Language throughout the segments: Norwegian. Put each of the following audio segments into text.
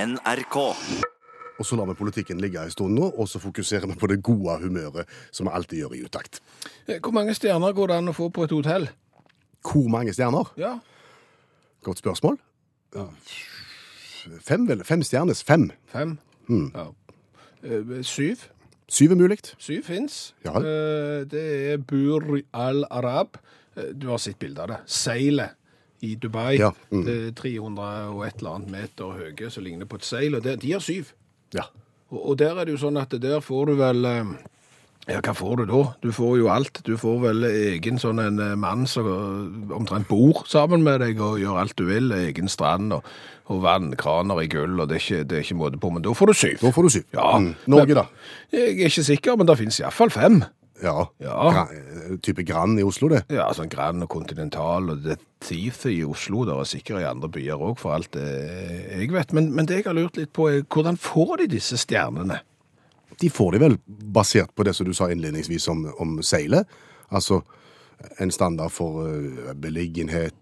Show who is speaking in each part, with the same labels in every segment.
Speaker 1: NRK.
Speaker 2: Og så lar vi politikken ligge en stund nå, og så fokuserer vi på det gode humøret som vi alltid gjør i utakt.
Speaker 3: Eh, Hvor mange stjerner går det an å få på et hotell?
Speaker 2: Hvor mange stjerner?
Speaker 3: Ja.
Speaker 2: Godt spørsmål. Ja, Fem, vel? Fem stjernes. Fem.
Speaker 3: Fem?
Speaker 2: Hmm.
Speaker 3: Ja. Eh, Syv?
Speaker 2: Syv er mulig.
Speaker 3: Syv fins.
Speaker 2: Ja.
Speaker 3: Eh, Det er Bur al-Arab. Eh, Du har sett bilde av det. Seilet i Dubai.
Speaker 2: Ja, mm.
Speaker 3: Det er 300 og et eller annet meter høye som ligner på et seil, og det, de har syv.
Speaker 2: Ja.
Speaker 3: Og, og der er det jo sånn at der får du vel eh, ja, hva får du da? Du får jo alt. Du får vel egen sånn en eh, mann som eh, omtrent bor sammen med deg og gjør alt du vil. Egen strand og, og vannkraner i gull, og det er, ikke, det er ikke måte på. Men da får du syv.
Speaker 2: Da får du syv.
Speaker 3: Ja.
Speaker 2: Mm. Norge, da?
Speaker 3: Jeg er ikke sikker, men det finnes iallfall fem.
Speaker 2: Ja.
Speaker 3: Ja.
Speaker 2: Gra- type Grand i Oslo, det.
Speaker 3: Ja, sånn Grand og Continental og det Thief i Oslo. Det er sikkert i andre byer òg, for alt det jeg vet. Men, men det jeg har lurt litt på, er hvordan får de disse stjernene?
Speaker 2: De får de vel basert på det som du sa innledningsvis om, om seilet. Altså en standard for eh, beliggenhet,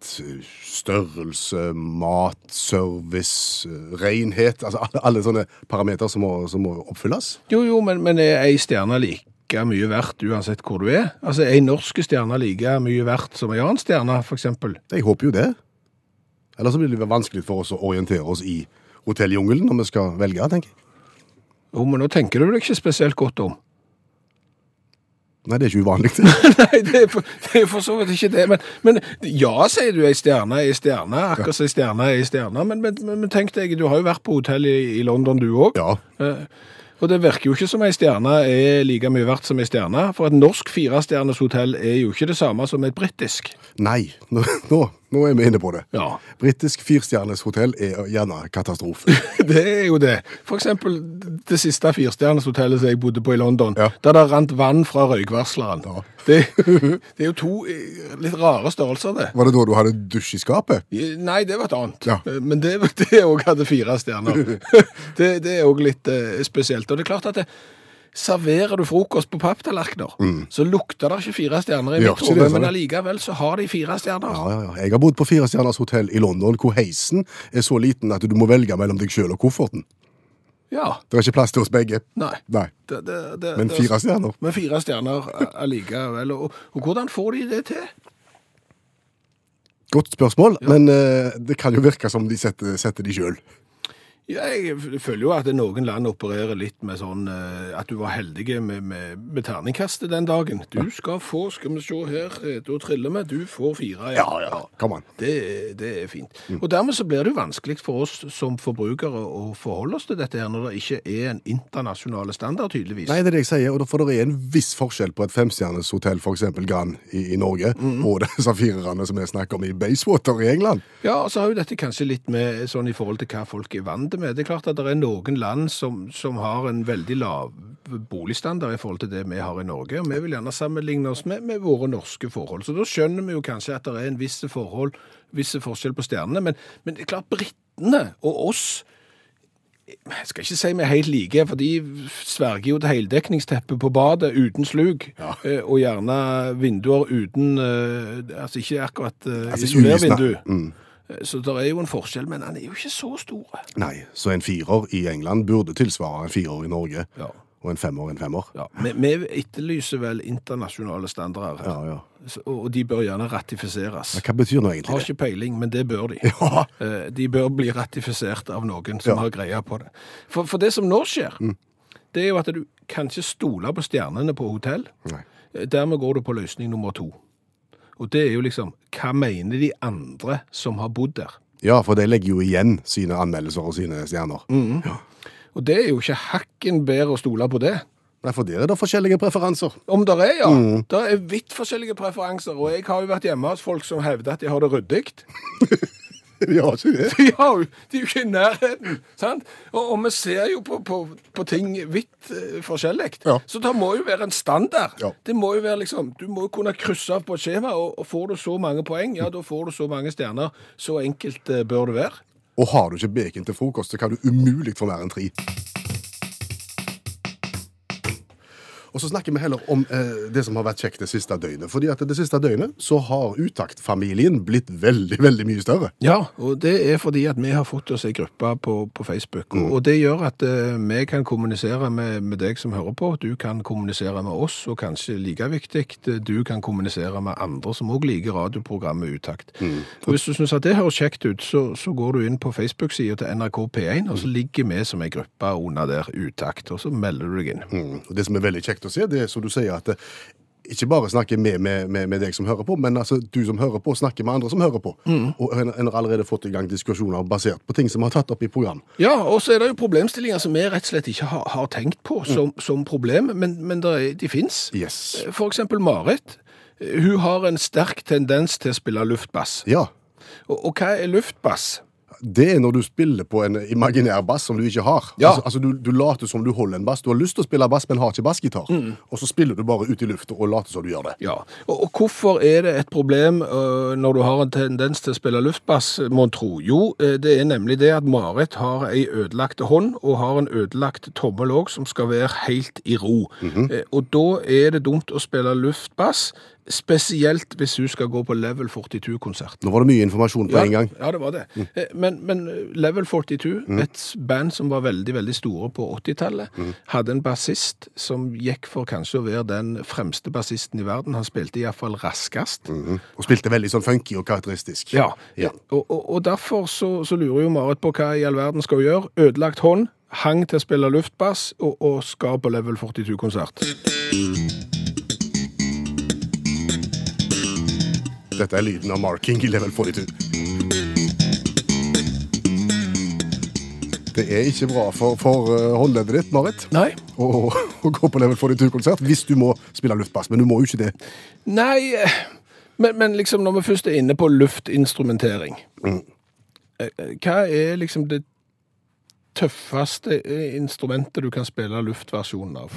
Speaker 2: størrelse, mat, service, eh, renhet. Altså alle, alle sånne parametere som må, som må oppfylles.
Speaker 3: Jo, jo, men, men er ei stjerne like mye verdt uansett hvor du er? Altså, er ei norsk stjerne like mye verdt som ei annen stjerne, for eksempel?
Speaker 2: Jeg håper jo det. Ellers så blir det vel vanskelig for oss å orientere oss i hotelljungelen når vi skal velge, tenker jeg.
Speaker 3: Jo, men nå tenker du deg ikke spesielt godt om.
Speaker 2: Nei, det er ikke uvanlig.
Speaker 3: Nei, det er, for, det er for så vidt ikke det. Men, men ja, sier du, ei stjerne er ei stjerne, akkurat som ei stjerne er ei stjerne. Men, men, men, men tenk deg, du har jo vært på hotell i, i London du òg.
Speaker 2: Ja,
Speaker 3: Og det virker jo ikke som ei stjerne er like mye verdt som ei stjerne. For et norsk firestjerners hotell er jo ikke det samme som et britisk.
Speaker 2: Nei, nå, nå, nå er vi inne på det.
Speaker 3: Ja.
Speaker 2: Britisk firestjernes hotell er gjerne katastrofe.
Speaker 3: Det er jo det. For eksempel det siste firestjerners hotellet som jeg bodde på i London.
Speaker 2: Ja.
Speaker 3: Der det rant vann fra røykvarsleren. Det, det er jo to eh, litt rare størrelser, det.
Speaker 2: Var det da du hadde dusj i skapet?
Speaker 3: Nei, det var et annet. Eh,
Speaker 2: Ja.
Speaker 3: Men det det òg hadde fire stjerner. det, det er òg litt eh, spesielt. Og det er klart at det, serverer du frokost på papptallerkener, så lukter det ikke fire stjerner i
Speaker 2: Mm. Det gjør ikke det,
Speaker 3: midtrommet,
Speaker 2: sant?
Speaker 3: men allikevel så har de fire stjerner.
Speaker 2: Ja, ja, ja. Jeg har bodd på firestjerners hotell i London, hvor heisen er så liten at du må velge mellom deg sjøl og kofferten.
Speaker 3: Ja.
Speaker 2: Det er ikke plass til oss begge.
Speaker 3: Nei.
Speaker 2: Nei.
Speaker 3: Det, det, det,
Speaker 2: Men
Speaker 3: det-
Speaker 2: fire stjerner?
Speaker 3: Men fire stjerner eh, allikevel. Og, og hvordan får de det til?
Speaker 2: Godt spørsmål, men eh, det kan jo virke som de setter, setter de sjøl.
Speaker 3: Ja, jeg f- føler jo at noen land opererer litt med sånn eh, at du var heldig med, med, med terningkastet den dagen. Du skal få, skal vi se her, eh, da triller vi, du får fire.
Speaker 2: Kom an.
Speaker 3: Det, er- det er fint. Og dermed så blir det jo vanskelig for oss som forbrukere å forholde oss til dette her, når det ikke er en internasjonale standard, tydeligvis.
Speaker 2: Nei, det er det jeg sier, og da- for det er en viss forskjell på et femstjernes hotell, f.eks. Grand i, i Norge,
Speaker 3: Mhm.
Speaker 2: og det safirerne som vi snakker om i Bayswater i England.
Speaker 3: Ja, og så har jo dette kanskje litt med sånn i forhold til hva folk er vant med. Det er klart at det er noen land som, som har en veldig lav boligstandard i forhold til det vi har i Norge. og Vi vil gjerne sammenligne oss med, med våre norske forhold. Så da skjønner vi jo kanskje at det er en viss forhold, visse forskjell på stjernene. Men, men det er klart, britene og oss jeg skal ikke si vi er helt like, for de sverger jo til heldekningsteppe på badet uten slug, eh, og gjerne vinduer uten eh, Altså ikke akkurat eh,
Speaker 2: Altså, ikke
Speaker 3: isolervindu.
Speaker 2: ulysna. Mm.
Speaker 3: Eh, Så det er jo en forskjell, men han er jo ikke så stor.
Speaker 2: Nei, så en firer i England burde tilsvare en firer i Norge,
Speaker 3: Ja.
Speaker 2: og en femmer en femmer.
Speaker 3: Ja, vi, vi etterlyser vel internasjonale standarder, her.
Speaker 2: ja.
Speaker 3: Så- og og de bør gjerne ratifiseres.
Speaker 2: Men Hva betyr nå egentlig
Speaker 3: Har
Speaker 2: det?
Speaker 3: ikke peiling, men det bør de.
Speaker 2: Ja.
Speaker 3: Eh, De bør bli ratifisert av noen som
Speaker 2: Ja. Mm.
Speaker 3: har greia på det. For, for det som nå skjer, det er jo at du kan ikke stole på stjernene på hotell.
Speaker 2: Nei.
Speaker 3: Eh, Dermed går du på løsning nummer to. Og det er jo liksom, hva mener de andre som har bodd der?
Speaker 2: Ja, for de legger jo igjen sine anmeldelser og sine stjerner.
Speaker 3: Og det er jo ikke hakken bedre å stole på det.
Speaker 2: Nei, for der er det forskjellige preferanser.
Speaker 3: Om det er, ja.
Speaker 2: Mm.
Speaker 3: Det er vidt forskjellige preferanser, og jeg har jo vært hjemme hos folk som hevder at de har det ryddig.
Speaker 2: De har ikke det.
Speaker 3: De, har jo- de er jo ikke i nærheten, sant? Og, og vi ser jo på, på, på ting vidt eh, forskjellig.
Speaker 2: Ja.
Speaker 3: Så det må jo være en standard.
Speaker 2: Ja.
Speaker 3: Det må jo være liksom, Du må jo kunne krysse av på et skjema, og, og får du så mange poeng,
Speaker 2: Mm.
Speaker 3: ja, da får du så mange stjerner. Så enkelt eh, bør det være.
Speaker 2: Og har du ikke bacon til frokost, så kan du umulig få mer enn tre. Og så snakker vi heller om eh, det som har vært kjekt det siste døgnet. Fordi at det siste døgnet så har utaktfamilien blitt veldig, veldig mye større.
Speaker 3: Ja, og det er fordi at vi har fått oss ei gruppe på, på Facebook. og- Og det gjør at eh, vi kan kommunisere med, med deg som hører på, du kan kommunisere med oss, og kanskje like viktig, eh, du kan kommunisere med andre som òg liker radioprogrammet Utakt. Og Hvis du syns at det høres kjekt ut, så, så går du inn på Facebook-sida til NRK P1, og så ligger vi som ei gruppe under der, Utakt, og så melder du deg inn.
Speaker 2: Mm. Og det som er veldig kjekt å se, det er som du sier at eh, ikke bare snakker vi med, med, med deg som hører på, men altså, du som hører på, snakker med andre som hører på.
Speaker 3: Mm.
Speaker 2: Og en en har allerede fått i gang diskusjoner basert på ting som vi har tatt opp i program.
Speaker 3: Ja, og så er det jo problemstillinger som vi rett og slett ikke har, har tenkt på som, som problem, men, men der er, de fins.
Speaker 2: Yes.
Speaker 3: For eksempel Marit. Hun har en sterk tendens til å spille luftbass.
Speaker 2: Ja.
Speaker 3: Og, og hva er luftbass?
Speaker 2: Det er når du spiller på en imaginær bass som du ikke har.
Speaker 3: Ja.
Speaker 2: Altså, altså du, du later som du holder en bass. Du har lyst til å spille bass, men har ikke bassgitar.
Speaker 3: Mm.
Speaker 2: Og så spiller du bare ut i lufta og later som du gjør det.
Speaker 3: Ja, og, og hvorfor er det et problem øh, når du har en tendens til å spille luftbass, må en tro? Jo, øh, det er nemlig det at Marit har ei ødelagt hånd, og har en ødelagt tommel òg, som skal være helt i ro. Eh, Og da er det dumt å spille luftbass, spesielt hvis hun skal gå på Level 42-konsert.
Speaker 2: Nå var det mye informasjon på
Speaker 3: ja,
Speaker 2: en gang. Mm.
Speaker 3: Ja, det var det. Eh, Men, men Level 42, et band som var veldig, veldig store på 80-tallet,
Speaker 2: Mm.
Speaker 3: hadde en bassist som gikk for kanskje å være den fremste bassisten i verden. Han spilte iallfall raskest.
Speaker 2: Og spilte veldig sånn funky og karakteristisk.
Speaker 3: Ja.
Speaker 2: Mm, Ja.
Speaker 3: Og, og, og derfor så, så lurer jo Marit på hva i all verden skal hun gjøre. Ødelagt hånd, hang til å spille luftbass og, og skal på Level 42-konsert.
Speaker 2: Dette er lyden av marking i level 42. Det er ikke bra for, for eh, håndleddet ditt, Marit,
Speaker 3: Nei.
Speaker 2: å, å, å gå på level 42-konsert hvis du må spille luftbass. Men du må jo ikke det.
Speaker 3: Nei, eh, men, men liksom når vi først er inne på luftinstrumentering eh, eh, Hva er liksom det tøffeste eh, instrumentet du kan spille luftversjonen av?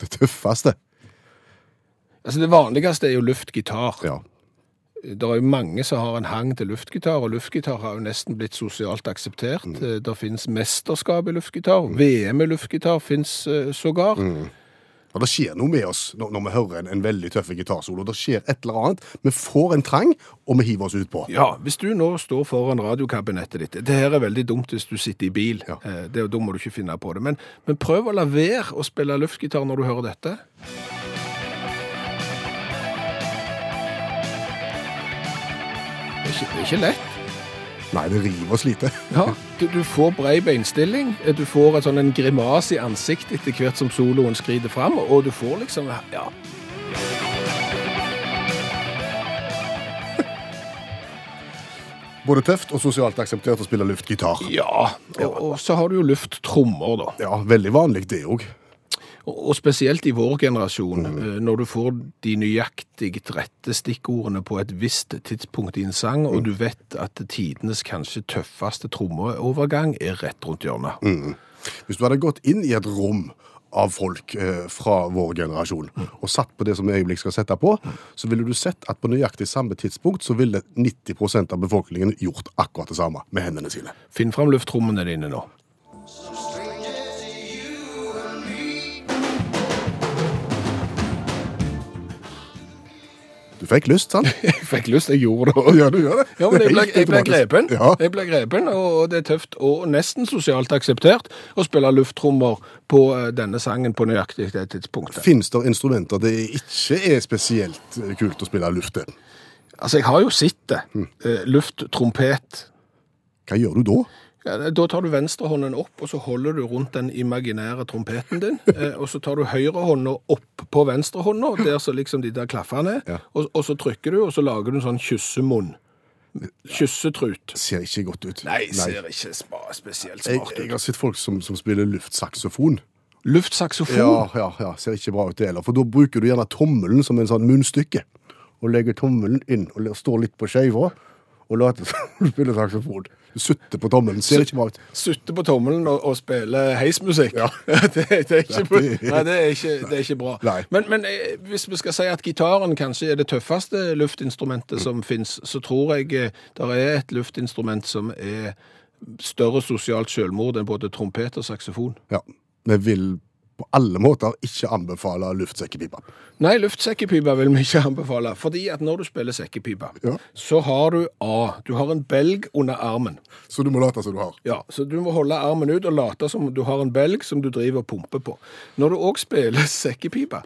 Speaker 2: Det tøffeste.
Speaker 3: altså Det vanligste er jo luftgitar.
Speaker 2: Ja.
Speaker 3: Det er jo mange som har en hang til luftgitar, og luftgitar har jo nesten blitt sosialt akseptert. Eh, Det finnes mesterskap i luftgitar, VM i luftgitar finnes eh, sågar.
Speaker 2: Og Det skjer noe med oss når, når vi hører en, en veldig tøff gitarsolo. Det skjer et eller annet. Vi får en trang, og vi hiver oss utpå.
Speaker 3: Ja, hvis du nå står foran radiokabinettet ditt Det her er veldig dumt hvis du sitter i bil. Eh, Det, da må du ikke finne på det. Men, men prøv å la være å spille luftgitar når du hører dette. Det er ikke, det er ikke lett.
Speaker 2: Nei, det river oss lite.
Speaker 3: Ja, du, du får brei beinstilling, eh, du får et sånn en grimas i ansiktet etter hvert som soloen skrider fram, og du får liksom Ja.
Speaker 2: Både tøft og sosialt akseptert å spille luftgitar.
Speaker 3: ja. Og, og så har du jo lufttrommer, da.
Speaker 2: Ja, veldig vanlig det òg.
Speaker 3: Og og spesielt i vår generasjon, eh, når du får de nøyaktig rette stikkordene på et visst tidspunkt i en sang, og du vet at tidenes kanskje tøffeste trommeovergang er rett rundt hjørnet.
Speaker 2: Hvis du hadde gått inn i et rom av folk eh, fra vår generasjon og satt på det som vi i øyeblikk skal sette på, så ville du sett at på nøyaktig samme tidspunkt så ville 90 av befolkningen gjort akkurat det samme med hendene sine.
Speaker 3: Finn fram lufttrommene dine nå.
Speaker 2: Du fikk lyst, sant?
Speaker 3: Jeg fikk lyst, jeg gjorde det.
Speaker 2: ja, du gjør det.
Speaker 3: Ja, men jeg ble,
Speaker 2: Helt
Speaker 3: jeg ble
Speaker 2: automatisk.
Speaker 3: grepen.
Speaker 2: Ja.
Speaker 3: Jeg ble grepen, og det er tøft og nesten sosialt akseptert å spille lufttrommer på eh, denne sangen på nøyaktig det tidspunktet.
Speaker 2: Fins det instrumenter det ikke er spesielt eh, kult å spille luft til?
Speaker 3: Altså, jeg har jo sett det. Eh, Lufttrompet.
Speaker 2: Hva gjør du da?
Speaker 3: Ja, det- da tar du venstrehånden opp, og så holder du rundt den imaginære trompeten din. eh, Og så tar du høyrehånda opp på venstrehånda, der så liksom de der klaffene er.
Speaker 2: Ja.
Speaker 3: Og, og så trykker du, og så lager du en sånn kyssemunn. Kyssetrut.
Speaker 2: Ser ikke godt ut.
Speaker 3: Nei, ser ikke spa- spesielt
Speaker 2: Jeg,
Speaker 3: smart
Speaker 2: jeg
Speaker 3: ut.
Speaker 2: har sett folk som, som spiller luftsaksofon.
Speaker 3: Luftsaksofon.
Speaker 2: Ja, ja, ja, ser ikke bra ut det heller. For da bruker du gjerne tommelen som en sånn munnstykke. Og legger tommelen inn og le- står litt på skeiva og later som du spiller saksofon. Du sutter på tommelen, ser ikke bra ut.
Speaker 3: Sutte på tommelen og, og spille heismusikk. det, det, er ikke,
Speaker 2: Nei, det-
Speaker 3: nei, det er ikke, det er ikke bra.
Speaker 2: Nei.
Speaker 3: Men, men eh, hvis vi skal si at gitaren kanskje er det tøffeste luftinstrumentet som fins, så tror jeg det er et luftinstrument som er større sosialt selvmord enn både trompet og saksofon.
Speaker 2: Ja, Vi vil på alle måter ikke anbefale luftsekkepipa.
Speaker 3: Nei, luftsekkepipe vil vi ikke anbefale. Fordi at når du spiller sekkepipe,
Speaker 2: Ja.
Speaker 3: så har du A. Du har en belg under armen.
Speaker 2: Så du må late som du har.
Speaker 3: Ja, Så du må holde armen ut og late som du har en belg som du driver og pumper på. Når du òg spiller sekkepipe,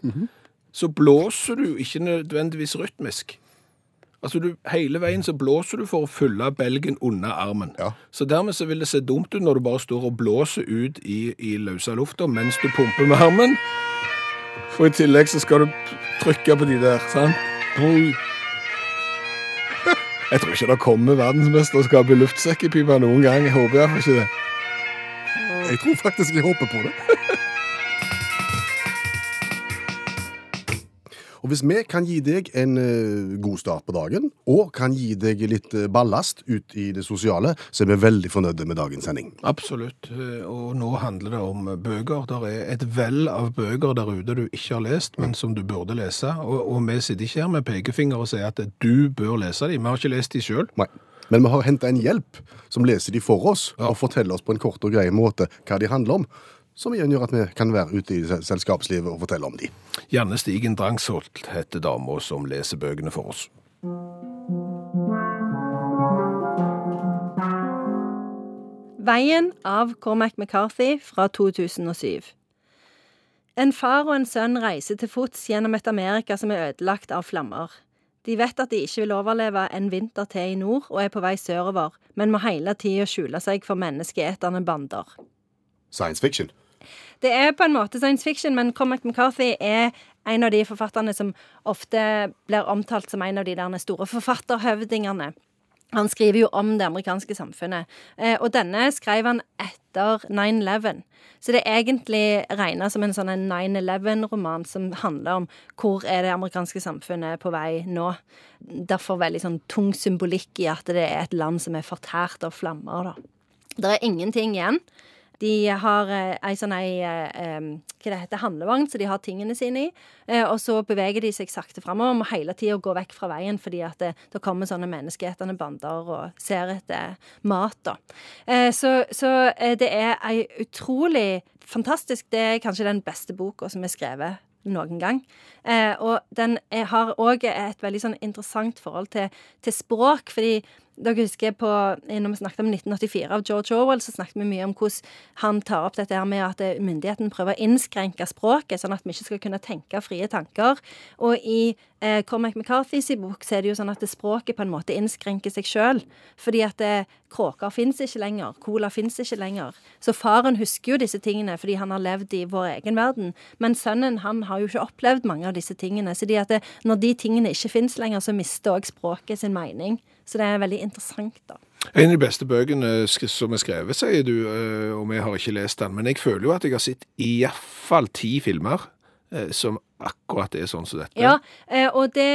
Speaker 3: så blåser du ikke nødvendigvis rytmisk. Altså du, Hele veien så blåser du for å fylle belgen under armen.
Speaker 2: Ja.
Speaker 3: Så dermed så vil det se dumt ut når du bare står og blåser ut i, i løse lufta mens du pumper med armen. Og i tillegg så skal du trykke på de der, sant? Oi. Jeg tror ikke det kommer verdensmesterskap i luftsekkepipe noen gang. Jeg håper iallfall ikke det.
Speaker 2: Jeg tror faktisk jeg håper på det. Og hvis vi kan gi deg en eh, god start på dagen, og kan gi deg litt eh, ballast ut i det sosiale, så er vi veldig fornøyde med dagens sending.
Speaker 3: Absolutt. eh, Og nå handler det om bøker. Der er et vell av bøker der ute du ikke har lest, men som du burde lese. Og, og vi sitter ikke her med pekefinger og sier at du bør lese dem. Vi har ikke lest dem sjøl.
Speaker 2: Nei. Men vi har henta en hjelp som leser de for oss, og forteller oss på en kort og grei måte hva de handler om. Som igjen gjør at vi kan være ute i se- selskapslivet og fortelle om de.
Speaker 3: Janne Stigen Drangsholt heter dama som leser bøkene for oss.
Speaker 1: Veien av Cormac McCarthy fra 2007. En far og en sønn reiser til fots gjennom et Amerika som er ødelagt av flammer. De vet at de ikke vil overleve en vinter til i nord og er på vei sørover, men må hele tida skjule seg for menneskeetende bander.
Speaker 2: Science fiction.
Speaker 1: Det er på en måte science fiction, men Cormac McCarthy er en av de forfatterne som ofte blir omtalt som en av de der store forfatterhøvdingene. Han skriver jo om det amerikanske samfunnet, eh, og denne skrev han etter 9-11. Så det er egentlig regna som en sånn en 9-11-roman som handler om hvor er det amerikanske samfunnet på vei nå. Derfor veldig sånn tung symbolikk i at det er et land som er fortært av flammer, da. Det er ingenting igjen. De har eh, ei sånn ei eh, em, hva det heter, handlevogn som de har tingene sine i. Eh, og så beveger de seg sakte framover og må hele tida gå vekk fra veien, fordi at det, det kommer sånne menneskeetende bander og ser etter mat, da. Eh, så så eh, det er ei utrolig fantastisk Det er kanskje den beste boka som er skrevet noen gang. Eh, og den er, har òg et veldig sånn interessant forhold til, til språk, fordi dere husker på, eh, Når vi snakket om 1984 av George Orwell, så snakket vi mye om hvordan han tar opp dette her med at eh, myndigheten prøver å innskrenke språket, sånn at vi ikke skal kunne tenke frie tanker. Og i eh, Cormac McCarthys bok så er det jo sånn at det språket på en måte innskrenker seg sjøl. Fordi at eh, kråker fins ikke lenger, cola fins ikke lenger. Så faren husker jo disse tingene fordi han har levd i vår egen verden. Men sønnen han har jo ikke opplevd mange av disse tingene. Så de at det, når de tingene ikke fins lenger, så mister òg språket sin mening. Så det er veldig interessant, da.
Speaker 3: En av de beste bøkene sk- som er skrevet, sier du, eh, og vi har ikke lest den. Men jeg føler jo at jeg har sett iallfall ti filmer eh, som akkurat er sånn som dette.
Speaker 1: Ja, eh, og det,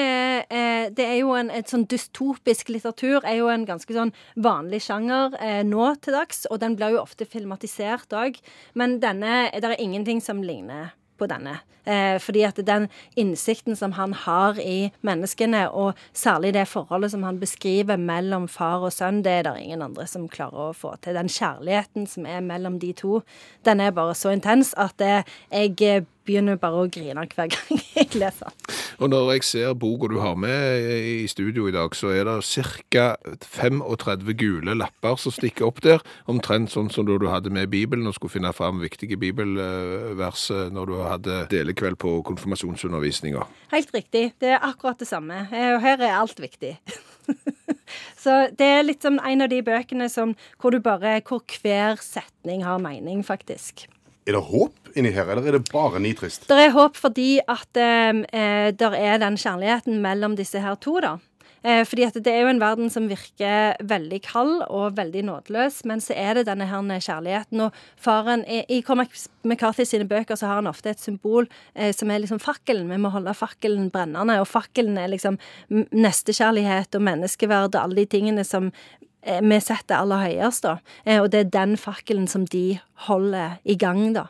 Speaker 1: eh, det er jo en et sånn dystopisk litteratur er jo en ganske sånn vanlig sjanger eh, nå til dags, og den blir jo ofte filmatisert òg. Men denne Det er ingenting som ligner på denne. Eh, fordi at den innsikten som han har i menneskene, og særlig det forholdet som han beskriver mellom far og sønn, det er det ingen andre som klarer å få til. Den kjærligheten som er mellom de to, den er bare så intens at eh, jeg eh, begynner bare å grine hver gang jeg leser den.
Speaker 3: Og når jeg ser boka du har med i studio i dag, så er det ca. 35 gule lapper som stikker opp der. Omtrent sånn som da du hadde med Bibelen og skulle finne fram viktige bibelvers eh, når du hadde delekveld på konfirmasjonsundervisninga.
Speaker 1: Helt riktig. Det er akkurat det samme. Eh, Og her er alt viktig. Så det er litt som en av de bøkene som, hvor du bare Hvor hver setning har mening, faktisk.
Speaker 2: Er det håp inni her, eller er det bare nitrist?
Speaker 1: Det er håp fordi at eh, det er den kjærligheten mellom disse her to, da. Eh, fordi at det er jo en verden som virker veldig kald og veldig nådeløs, men så er det denne her kjærligheten. Og faren I i Cormac McCarthy sine bøker så har han ofte et symbol eh, som er liksom fakkelen. Vi må holde fakkelen brennende, og fakkelen er liksom m- nestekjærlighet og menneskeverd og alle de tingene som eh, vi setter aller høyest, da. Eh, og det er den fakkelen som de holder i gang, da.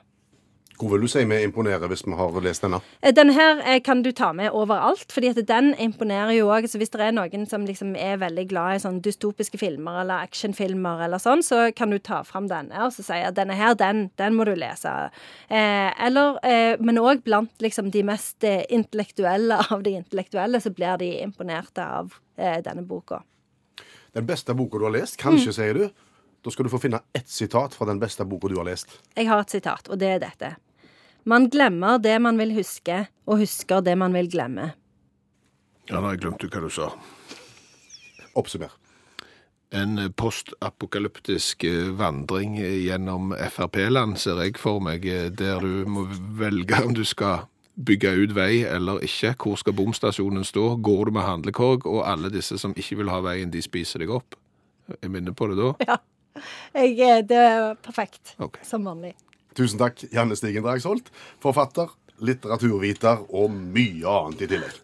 Speaker 2: Hvor vil du si vi imponerer hvis vi har lest denne?
Speaker 1: Eh, Denne her eh, kan du ta med overalt, fordi at den imponerer jo òg. Så hvis det er noen som liksom er veldig glad i sånn dystopiske filmer eller actionfilmer eller sånn, så kan du ta fram denne og så si at denne her, den, den må du lese. Eh, eller, eh, men òg blant liksom de mest eh, intellektuelle av de intellektuelle, så blir de imponerte av eh, denne boka.
Speaker 2: Den beste boka du har lest, kanskje, sier du. Da skal du få finne ett sitat fra den beste boka du har lest.
Speaker 1: Jeg har et sitat, og det er dette. Man glemmer det man vil huske, og husker det man vil glemme.
Speaker 3: Ja, nå har jeg glemt hva du sa.
Speaker 2: Oppsummer.
Speaker 3: En postapokalyptisk eh, vandring gjennom Frp-land ser jeg for meg, eh, der du må velge om du skal bygge ut vei eller ikke. Hvor skal bomstasjonen stå? Går du med handlekorg? Og alle disse som ikke vil ha veien, de spiser deg opp. Jeg minner på det da.
Speaker 1: Ja. Jeg, eh, det er perfekt.
Speaker 3: Ok.
Speaker 1: Som vanlig.
Speaker 2: Tusen takk, Janne Stigen Dragsholt, forfatter, litteraturviter og mye annet i tillegg.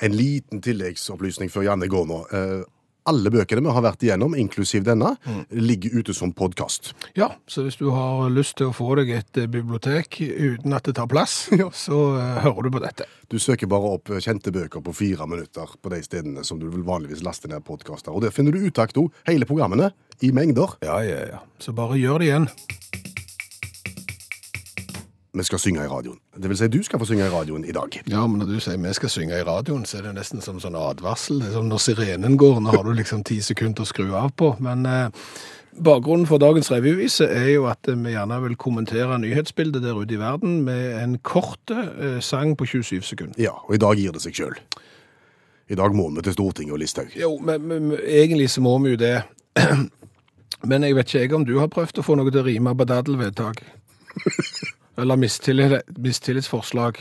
Speaker 2: En liten tilleggsopplysning før Janne går nå. Eh, alle bøkene vi har vært igjennom, inklusiv denne, ligger ute som podkast.
Speaker 3: Ja, så hvis du har lyst til å få deg et eh, bibliotek uten at det tar plass, så eh, hører du på dette.
Speaker 2: Du søker bare opp eh, kjente bøker på fire minutter på de stedene som du vil vanligvis laste ned podkaster. Og der finner du utakt òg, hele programmene, i mengder.
Speaker 3: Ja, ja, ja. Så bare gjør det igjen.
Speaker 2: Vi skal synge i radioen. Det vil si, du skal få synge i radioen i dag.
Speaker 3: Ja, men når du sier vi skal synge i radioen, så er det nesten som sånn advarsel. Det er som når sirenen går, nå har du liksom ti sekunder å skru av på. Men eh, bakgrunnen for dagens revyvise er jo at eh, vi gjerne vil kommentere nyhetsbildet der ute i verden med en kort eh, sang på 27 sekunder.
Speaker 2: Ja, og i dag gir det seg sjøl. I dag må vi til Stortinget og Listhaug.
Speaker 3: Jo, men, men, men egentlig så må vi jo det. Men jeg vet ikke jeg om du har prøvd å få noe til å rime på daddelvedtak. Eller mistillit, mistillitsforslag.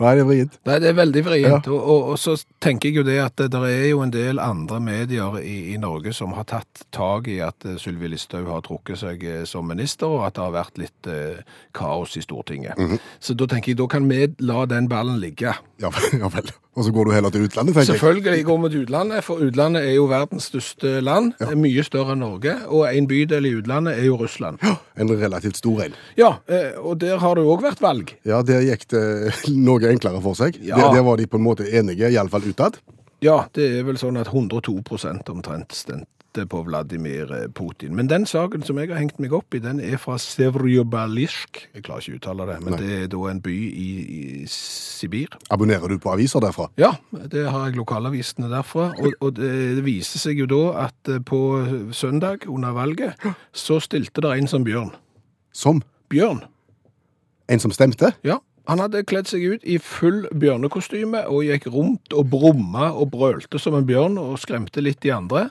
Speaker 2: Nei, det er vrient.
Speaker 3: Nei, det er veldig vrient. Og, og, og så tenker jeg jo det at det der er jo en del andre medier i, i Norge som har tatt tak i at eh, Sylvi Listhaug har trukket seg eh, som minister, og at det har vært litt eh, kaos i Stortinget. Så da tenker jeg, da kan vi la den ballen ligge.
Speaker 2: Ja, ja vel. Og så går du heller til utlandet, tenker jeg.
Speaker 3: Selvfølgelig går vi til utlandet, for utlandet er jo verdens største land. Mye større enn Norge. Og en bydel i utlandet er jo Russland.
Speaker 2: En relativt stor en.
Speaker 3: Ja, eh, og der har det jo òg vært valg.
Speaker 2: Ja, der gikk det noe enklere for seg.
Speaker 3: Ja.
Speaker 2: Der, der var de på en måte enige, iallfall utad.
Speaker 3: Ja, det er vel sånn at 102 omtrent stemte på Vladimir eh, Putin. Men den saken som jeg har hengt meg opp i, den er fra Sevryobalsk. Jeg klarer ikke å uttale det, men
Speaker 2: Nei.
Speaker 3: det er da en by i, i Sibir.
Speaker 2: Abonnerer du på aviser derfra?
Speaker 3: Ja, det har jeg lokalavisene derfra. Og, og det viser seg jo da at eh, på søndag under valget så stilte det en som Bjørn.
Speaker 2: Som
Speaker 3: Bjørn.
Speaker 2: en som stemte?
Speaker 3: Ja. Han hadde kledd seg ut i full bjørnekostyme og gikk rundt og brumma og brølte som en bjørn og skremte litt de andre.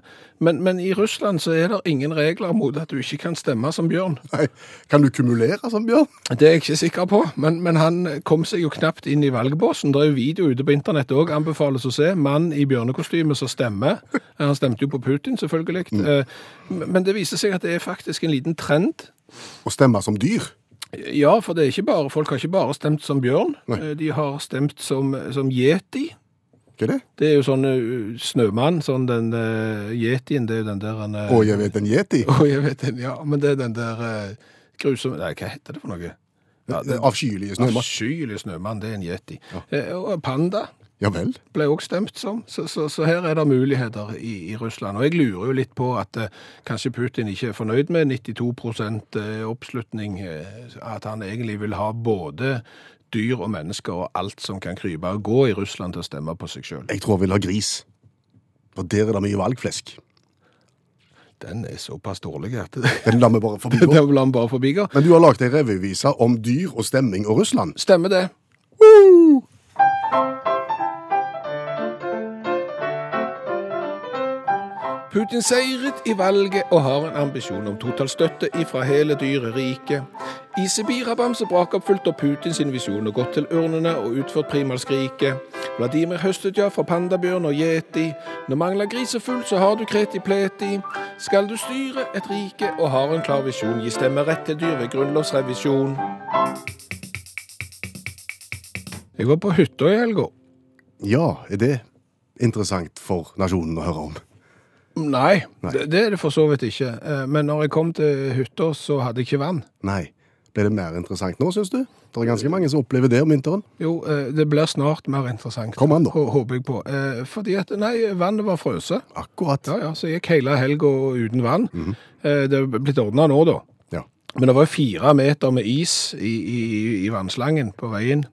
Speaker 3: Men, men i Russland så er det ingen regler mot at du ikke kan stemme som bjørn.
Speaker 2: Nei. Kan du kumulere som Bjørn?
Speaker 3: Det er jeg ikke sikker på, men, men han kom seg jo knapt inn i valgbåsen. Det er jo video ute på internett òg, anbefales å se. Mann i bjørnekostyme som stemmer. Han stemte jo på Putin, selvfølgelig. Eh, Men men det viser seg at det er faktisk en liten trend
Speaker 2: Å stemme som dyr?
Speaker 3: Ja, for det er ikke bare, folk har ikke bare stemt som bjørn.
Speaker 2: Nei.
Speaker 3: Eh, De har stemt som, som yeti.
Speaker 2: Hva er det?
Speaker 3: Det er jo sånn eh, snømann, sånn den eh, yetien, det er jo den der han, eh,
Speaker 2: Å, jeg vet en yeti?
Speaker 3: Å, jeg vet den, ja. Men det er den der uh, grusomme Nei, hva heter det for noe? Ja, det
Speaker 2: Avskyelige snømann.
Speaker 3: Avskyelig snømann, det er en yeti. Eh, og panda
Speaker 2: Ja vel.
Speaker 3: ble òg stemt som, så, så, så her er det muligheter i, i Russland. Og jeg lurer jo litt på at eh, kanskje Putin ikke er fornøyd med 92 eh, oppslutning, eh, at han egentlig vil ha både dyr og mennesker og alt som kan krype og gå i Russland til å stemme på seg sjøl.
Speaker 2: Jeg tror jeg vil ha gris. For der er det mye valgflesk.
Speaker 3: Den er såpass dårlig at det
Speaker 2: Den lar vi bare
Speaker 3: det
Speaker 2: forbigå.
Speaker 3: lar vi bare forbigå.
Speaker 2: Men du har lagd ei revyvise om dyr og stemming og Russland.
Speaker 3: Stemmer det. Putin seiret i valget og har en ambisjon om totalstøtte ifra hele dyre riket. I Sibirabamse brakoppfylte Putin sin visjon og gått til urnene og utført primalskriket. Vladimir høstet ja fra pandabjørn og yeti. Når mangler grisefugl, så har du kreti pleti. Skal du styre et rike og har en klar visjon, gi stemmerett til dyr ved grunnlovsrevisjon. Jeg var på hytta i helga.
Speaker 2: Ja, er det interessant for nasjonen å høre om?
Speaker 3: Nei, Det, det er det for så vidt ikke. Eh, Men når jeg kom til hytta, så hadde jeg ikke vann.
Speaker 2: Nei. Ble det mer interessant nå, syns du? Det er ganske mange som opplever det om vinteren.
Speaker 3: Jo, eh, det blir snart mer interessant.
Speaker 2: Kom an, da.
Speaker 3: hå- Håper jeg på. Eh, Fordi at, nei, vannet var frøse.
Speaker 2: Akkurat.
Speaker 3: Ja, ja, så jeg gikk hele helga uten vann.
Speaker 2: Mhm.
Speaker 3: Eh, Det er blitt ordna nå, da.
Speaker 2: Ja.
Speaker 3: Men det var jo fire meter med is i, i, i vannslangen på veien.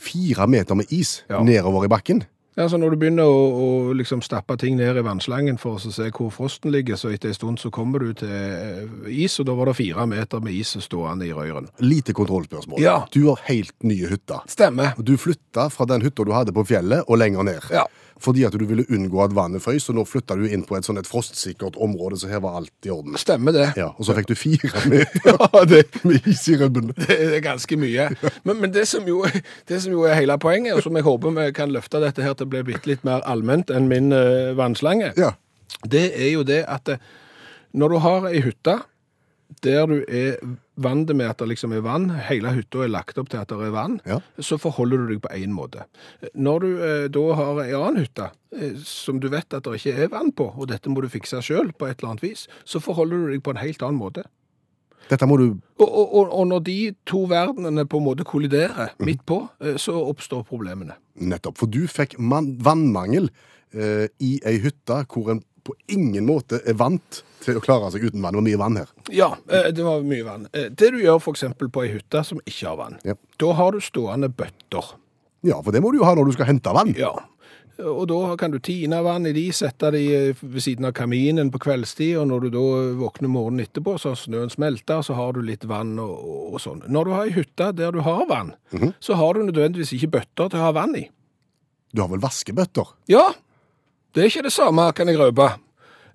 Speaker 2: Fire meter med is
Speaker 3: Ja.
Speaker 2: nedover i bakken.
Speaker 3: Ja, så Når du begynner å, å liksom stappe ting ned i vannslangen for å se hvor frosten ligger, så etter en stund så kommer du til eh, is, og da var det fire meter med is stående i røyren.
Speaker 2: Lite kontrollspørsmål.
Speaker 3: Ja.
Speaker 2: Du har helt nye hytter.
Speaker 3: Stemmer.
Speaker 2: Du flytta fra den hytta du hadde på fjellet og lenger ned.
Speaker 3: Ja.
Speaker 2: Fordi at du ville unngå at vannet frøs, og nå flytta du inn på et sånn et frostsikkert område, så her var alt i orden.
Speaker 3: Stemmer det.
Speaker 2: Ja, Og så fikk du fire meter med is i rubben.
Speaker 3: Det er ganske mye. Men, men det, som jo, det som jo er hele poenget, og som jeg håper vi kan løfte dette her til å bli bitte litt mer allment enn min eh, vannslange,
Speaker 2: Ja.
Speaker 3: det er jo det at eh, når du har ei hytte der du er vant med at det liksom er vann, hele hytta er lagt opp til at det er vann,
Speaker 2: Ja.
Speaker 3: så forholder du deg på én måte. Når du eh, da har ei annen hytte eh, som du vet at det ikke er vann på, og dette må du fikse sjøl på et eller annet vis, så forholder du deg på en helt annen måte.
Speaker 2: Dette må du
Speaker 3: Og, og, og, og når de to verdenene på en måte kolliderer midt på, eh, så oppstår problemene.
Speaker 2: Nettopp. For du fikk man, vannmangel eh, i ei hytte hvor en på ingen måte er vant til å klare seg uten vann. Det var mye vann her.
Speaker 3: Ja, eh, det var mye vann. Eh, Det du gjør f.eks. på ei hytte som ikke har vann,
Speaker 2: Ja.
Speaker 3: da har du stående bøtter.
Speaker 2: Ja, for det må du jo ha når du skal hente vann.
Speaker 3: Ja. Og da kan du tine vann i de, sette de eh, ved siden av kaminen på kveldstid, og når du da våkner morgenen etterpå, så har snøen smelta, så har du litt vann og, og- og sånn. Når du har ei hytte der du har vann, så har du nødvendigvis ikke bøtter til å ha vann i.
Speaker 2: Du har vel vaskebøtter?
Speaker 3: Ja, det er ikke det samme, kan jeg røpe.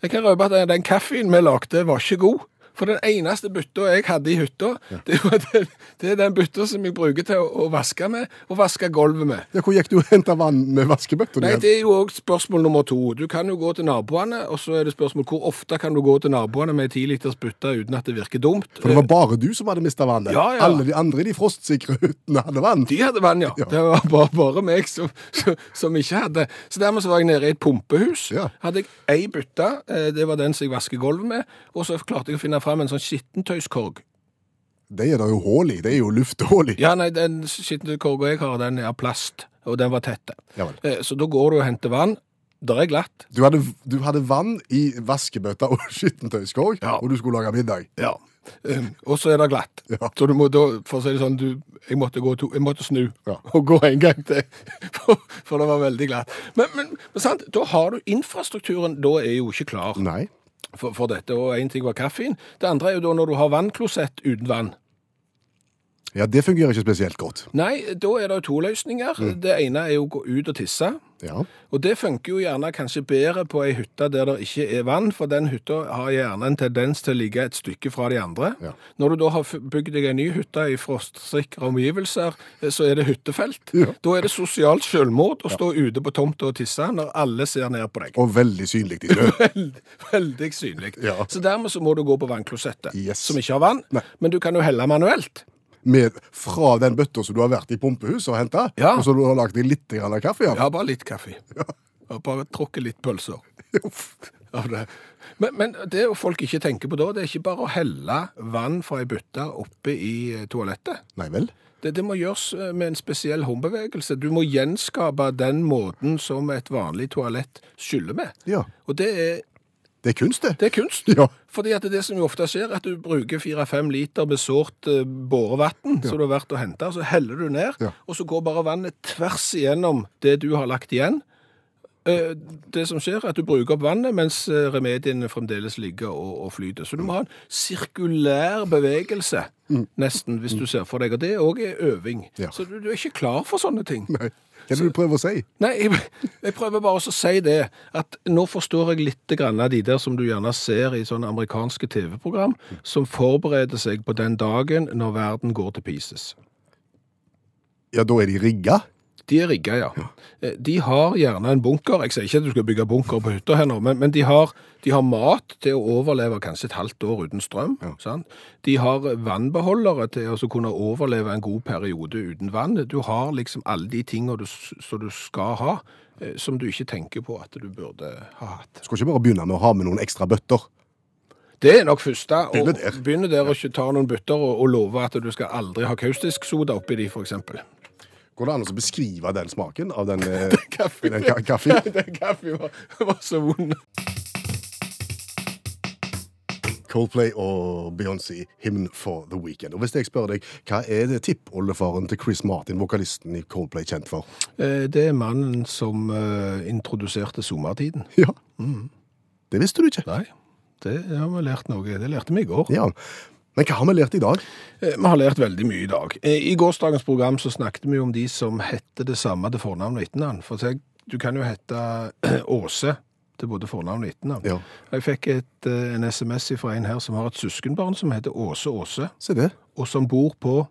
Speaker 3: Jeg kan røpe at den- den kaffen vi lagde var ikke god. For den eneste bytta jeg hadde i hytta, det, var den, det er den bytta som jeg bruker til å, å vaske med, og vaske gulvet med.
Speaker 2: Ja, Hvor gikk du og henta vann med vaskebøtter?
Speaker 3: Nei,
Speaker 2: igjen?
Speaker 3: det er jo òg spørsmål nummer to. Du kan jo gå til naboene, og så er det spørsmål hvor ofte kan du gå til naboene med ei tiliters bytte uten at det virker dumt.
Speaker 2: For det var bare du som hadde mista vannet.
Speaker 3: Ja, ja.
Speaker 2: Alle de andre i de frostsikre hyttene hadde vann.
Speaker 3: De hadde vann, ja. Det var bare, bare meg som, som, som ikke hadde. Så dermed så var jeg nede i et pumpehus.
Speaker 2: Ja.
Speaker 3: Hadde jeg ei bytte, eh, det var den som jeg vasker gulvet med, og så klarte jeg å finne fram en sånn skittentøyskorg.
Speaker 2: De er det jo hull i. Det er jo lufthull i.
Speaker 3: Ja, nei, den skittentøyskorga jeg har, den er av plast, og den var tett.
Speaker 2: Ja vel.
Speaker 3: Eh, Så da går du og henter vann. Der er glatt.
Speaker 2: Du, hadde, du hadde vann i vaskebøtta og skittentøyskorg,
Speaker 3: Ja.
Speaker 2: og du skulle lage middag.
Speaker 3: Ja. Ehm, Og så er det glatt. Så du må da, for å si det sånn, du, jeg, måtte gå to, jeg måtte snu
Speaker 2: Ja.
Speaker 3: og gå en gang til, for, for det var veldig glatt. Men, men, men sant, da har du infrastrukturen, da er jo ikke klar
Speaker 2: Nei.
Speaker 3: for, for dette. Og én ting var kaffen, det andre er jo da når du har vannklosett uten vann.
Speaker 2: Ja, det fungerer ikke spesielt godt.
Speaker 3: Nei, da er det jo to løsninger.
Speaker 2: Mm.
Speaker 3: Det ene er jo å gå ut og tisse.
Speaker 2: Ja.
Speaker 3: Og det funker jo gjerne kanskje bedre på ei hytte der det ikke er vann, for den hytta har gjerne en tendens til å ligge et stykke fra de andre.
Speaker 2: Ja.
Speaker 3: Når du da har f- bygd deg ei ny hytte i frostsikre omgivelser, eh, så er det hyttefelt.
Speaker 2: Ja.
Speaker 3: Da er det sosialt selvmord å stå ute på tomta og tisse når alle ser ned på deg.
Speaker 2: Og veldig synlig i snø.
Speaker 3: Veld, veldig synlig.
Speaker 2: Ja.
Speaker 3: Så dermed så må du gå på vannklosettet,
Speaker 2: Yes.
Speaker 3: som ikke har vann,
Speaker 2: Nei.
Speaker 3: men du kan jo helle manuelt.
Speaker 2: Med, fra den bøtta som du har vært i pumpehuset og henta,
Speaker 3: Ja.
Speaker 2: og så du har lagd deg litt grann av kaffe av.
Speaker 3: Ja, bare litt kaffe. Og bare tråkke litt pølser. av det. Men, men det jo folk ikke tenker på da, det er ikke bare å helle vann fra ei bytte oppe i eh, toalettet.
Speaker 2: Nei vel?
Speaker 3: Det, det må gjøres eh, med en spesiell håndbevegelse. Du må gjenskape den måten som et vanlig toalett skyller med.
Speaker 2: Ja.
Speaker 3: Og det er,
Speaker 2: Det er kunst, det.
Speaker 3: det er kunst.
Speaker 2: Ja.
Speaker 3: Fordi at det, er det som jo ofte skjer, at du bruker 4-5 liter med sårt eh, bårevann som du har vært og henta, så heller du ned,
Speaker 2: Ja.
Speaker 3: og så går bare vannet tvers igjennom det du har lagt igjen. Eh, Det som skjer, er at du bruker opp vannet mens eh, remediene fremdeles ligger og, og flyter. Så du må ha en sirkulær bevegelse, nesten, hvis du ser for deg. Og det òg er øving.
Speaker 2: Mm. Ja.
Speaker 3: Så du, du er ikke klar for sånne ting.
Speaker 2: Nei. Hva er det du prøver å si?
Speaker 3: Nei, jeg, jeg prøver bare også å si det, at nå forstår jeg litt grann av de der som du gjerne ser i sånne amerikanske TV-program, som forbereder seg på den dagen når verden går til pieces.
Speaker 2: Ja, da er de rigga.
Speaker 3: De er rigga, ja. Eh, De har gjerne en bunker. Jeg sier ikke at du skal bygge bunker på hytta her nå, men, men de, har, de har mat til å overleve kanskje et halvt år uten strøm. Sant? De har vannbeholdere til å så kunne overleve en god periode uten vann. Du har liksom alle de tingene du, s- som du skal ha, eh, som du ikke tenker på at du burde ha hatt.
Speaker 2: Skal ikke bare begynne med å ha med noen ekstra bøtter.
Speaker 3: Det er nok første. og-
Speaker 2: Begynne der.
Speaker 3: Begynne der og ikke ta noen bøtter og, og love at du skal aldri ha kaustisk soda oppi de, for eksempel.
Speaker 2: Går det an å beskrive den smaken av den, eh, den ka kaffen?
Speaker 3: Den kaffen var, var så vond.
Speaker 2: Coldplay og Beyoncé, 'Hymn for the Weekend'. Og hvis jeg spør deg, Hva er det tippoldefaren til Chris Martin, vokalisten i Coldplay, kjent for?
Speaker 3: Eh, Det er mannen som eh, introduserte sommertiden.
Speaker 2: Ja. Mm. Det visste du ikke.
Speaker 3: Nei, det har vi lært noe. Det lærte vi i går.
Speaker 2: Ja. Men hva har vi lært i dag?
Speaker 3: Eh, Vi har lært veldig mye i dag. Eh, I gårsdagens program så snakket vi om de som hette det samme til fornavn og etternavn. For tenk, du kan jo hete Åse til både fornavn og etternavn.
Speaker 2: Ja.
Speaker 3: Jeg fikk et, eh, en SMS fra en her som har et søskenbarn som heter Åse Åse,
Speaker 2: Se det.
Speaker 3: og som bor på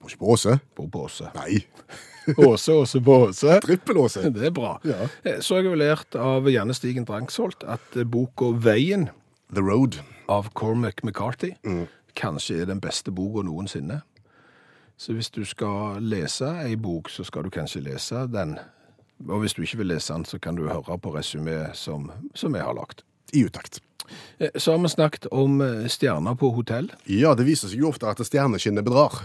Speaker 2: Må ikke på Åse.
Speaker 3: Bor på Åse.
Speaker 2: Nei.
Speaker 3: Åse Åse på Åse.
Speaker 2: Trippel-Åse.
Speaker 3: Det er bra.
Speaker 2: Ja.
Speaker 3: Eh, Så har jeg jo lært av Janne Stigen Drangsholt at eh, boka Veien
Speaker 2: The Road.
Speaker 3: av Cormac McCarthy kanskje er den beste boka noensinne. Så hvis du skal lese ei bok, så skal du kanskje lese den. Og hvis du ikke vil lese den, så kan du høre på resumeet som, som jeg har lagt.
Speaker 2: I utakt.
Speaker 3: Eh, Så har vi snakket om eh, stjerner på hotell.
Speaker 2: Ja, det viser seg jo ofte at stjerneskinnet bedrar.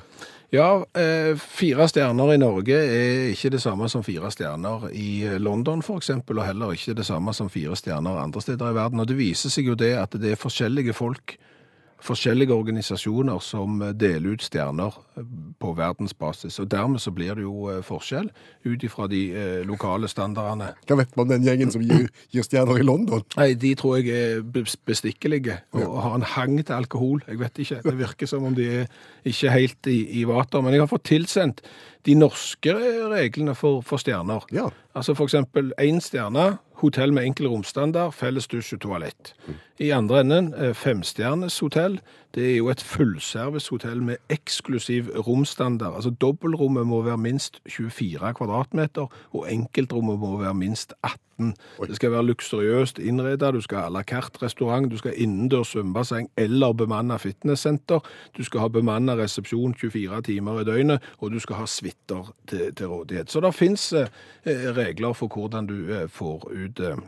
Speaker 3: Ja, eh, fire stjerner i Norge er ikke det samme som fire stjerner i London for eksempel, og heller ikke det samme som fire stjerner andre steder i verden. Og det viser seg jo det at det er forskjellige folk, forskjellige organisasjoner som deler ut stjerner eh, på verdensbasis. Og dermed så blir det jo eh, forskjell ut ifra de eh, lokale standardene.
Speaker 2: Hva vet man om den gjengen som gir, gir stjerner i London?
Speaker 3: Nei, de tror jeg er bes- bestikkelige og og har en hang til alkohol. Jeg vet ikke. Det virker som om de er ikke helt i, i vater. Men jeg har fått tilsendt de norske reglene for, for stjerner.
Speaker 2: Ja.
Speaker 3: Altså for eksempel én stjerne, hotell med enkel romstandard, felles dusj og toalett. I andre enden eh, femstjernes hotell. Det er jo et fullservicehotell med eksklusiv romstandard. Altså dobbeltrommet må være minst 24 kvadratmeter, og enkeltrommet må være minst 18. Det skal være luksuriøst innredet, du skal ha à la carte restaurant, du skal ha innendørs svømmebasseng eller bemanna fitnesssenter, du skal ha bemanna resepsjon 24 timer i døgnet, og du skal ha suiter til, til rådighet. Så det fins eh, regler for hvordan du eh, får ut eh,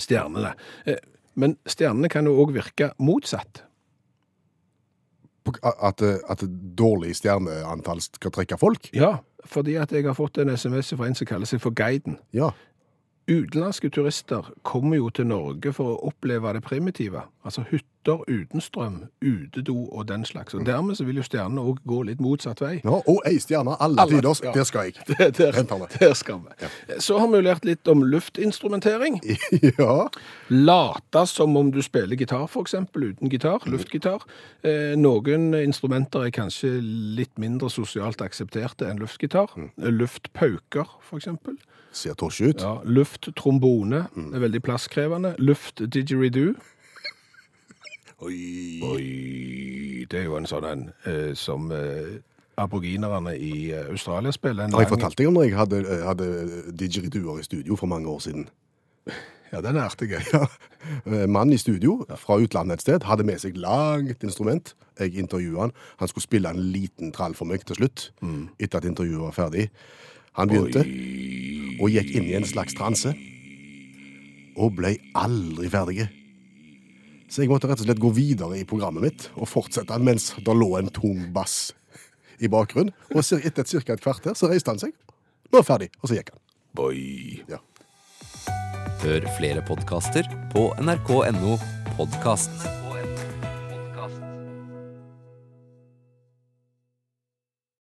Speaker 3: stjernene. Eh, men stjernene kan jo òg virke motsatt.
Speaker 2: På- At, at et dårlig stjerneantall skal trekke folk?
Speaker 3: Ja, fordi at jeg har fått en SMS fra en som kaller seg for Guiden.
Speaker 2: Ja.
Speaker 3: Utenlandske turister kommer jo til Norge for å oppleve det primitive. Altså hytter uten strøm, utedo og den slags. Og dermed så vil jo stjernene òg gå litt motsatt vei.
Speaker 2: ja. Og ei stjerne alle,
Speaker 3: Alle,
Speaker 2: tiders.
Speaker 3: ja.
Speaker 2: Der skal jeg.
Speaker 3: Der, der,
Speaker 2: Den tar vi.
Speaker 3: der skal vi. Så har vi jo lært litt om luftinstrumentering.
Speaker 2: ja.
Speaker 3: Late som om du spiller gitar, for eksempel, uten gitar, luftgitar. Eh, noen instrumenter er kanskje litt mindre sosialt aksepterte enn luftgitar. Luftpauker, for eksempel.
Speaker 2: Ser tosje ut. Mm.
Speaker 3: Ja, Lufttrombone er veldig plasskrevende. Luftdidgeridoo.
Speaker 2: Oi.
Speaker 3: Oi, det er jo en sånn en eh, som eh, aboriginerne i eh, Australia spiller. En
Speaker 2: Har jeg
Speaker 3: lang-
Speaker 2: fortalt deg om når jeg hadde, eh, hadde didgeriduer i studio for mange år siden?
Speaker 3: Ja, den er artig. jeg.
Speaker 2: Ja. Eh, Mann i studio fra utlandet et sted hadde med seg langt instrument. Jeg intervjua han. Han skulle spille en liten trall for meg til slutt, etter at intervjuet var ferdig. Han begynte og gikk inn i en slags transe. Og ble aldri ferdig. Så jeg måtte rett og slett gå videre i programmet mitt og fortsette mens det lå en tung bass i bakgrunnen. Og cir- etter ca. et kvarter så reiste han seg. Nå er ferdig. Og så gikk han.
Speaker 3: Boy.
Speaker 2: Ja.
Speaker 4: Hør flere podkaster på nrk.no podkast.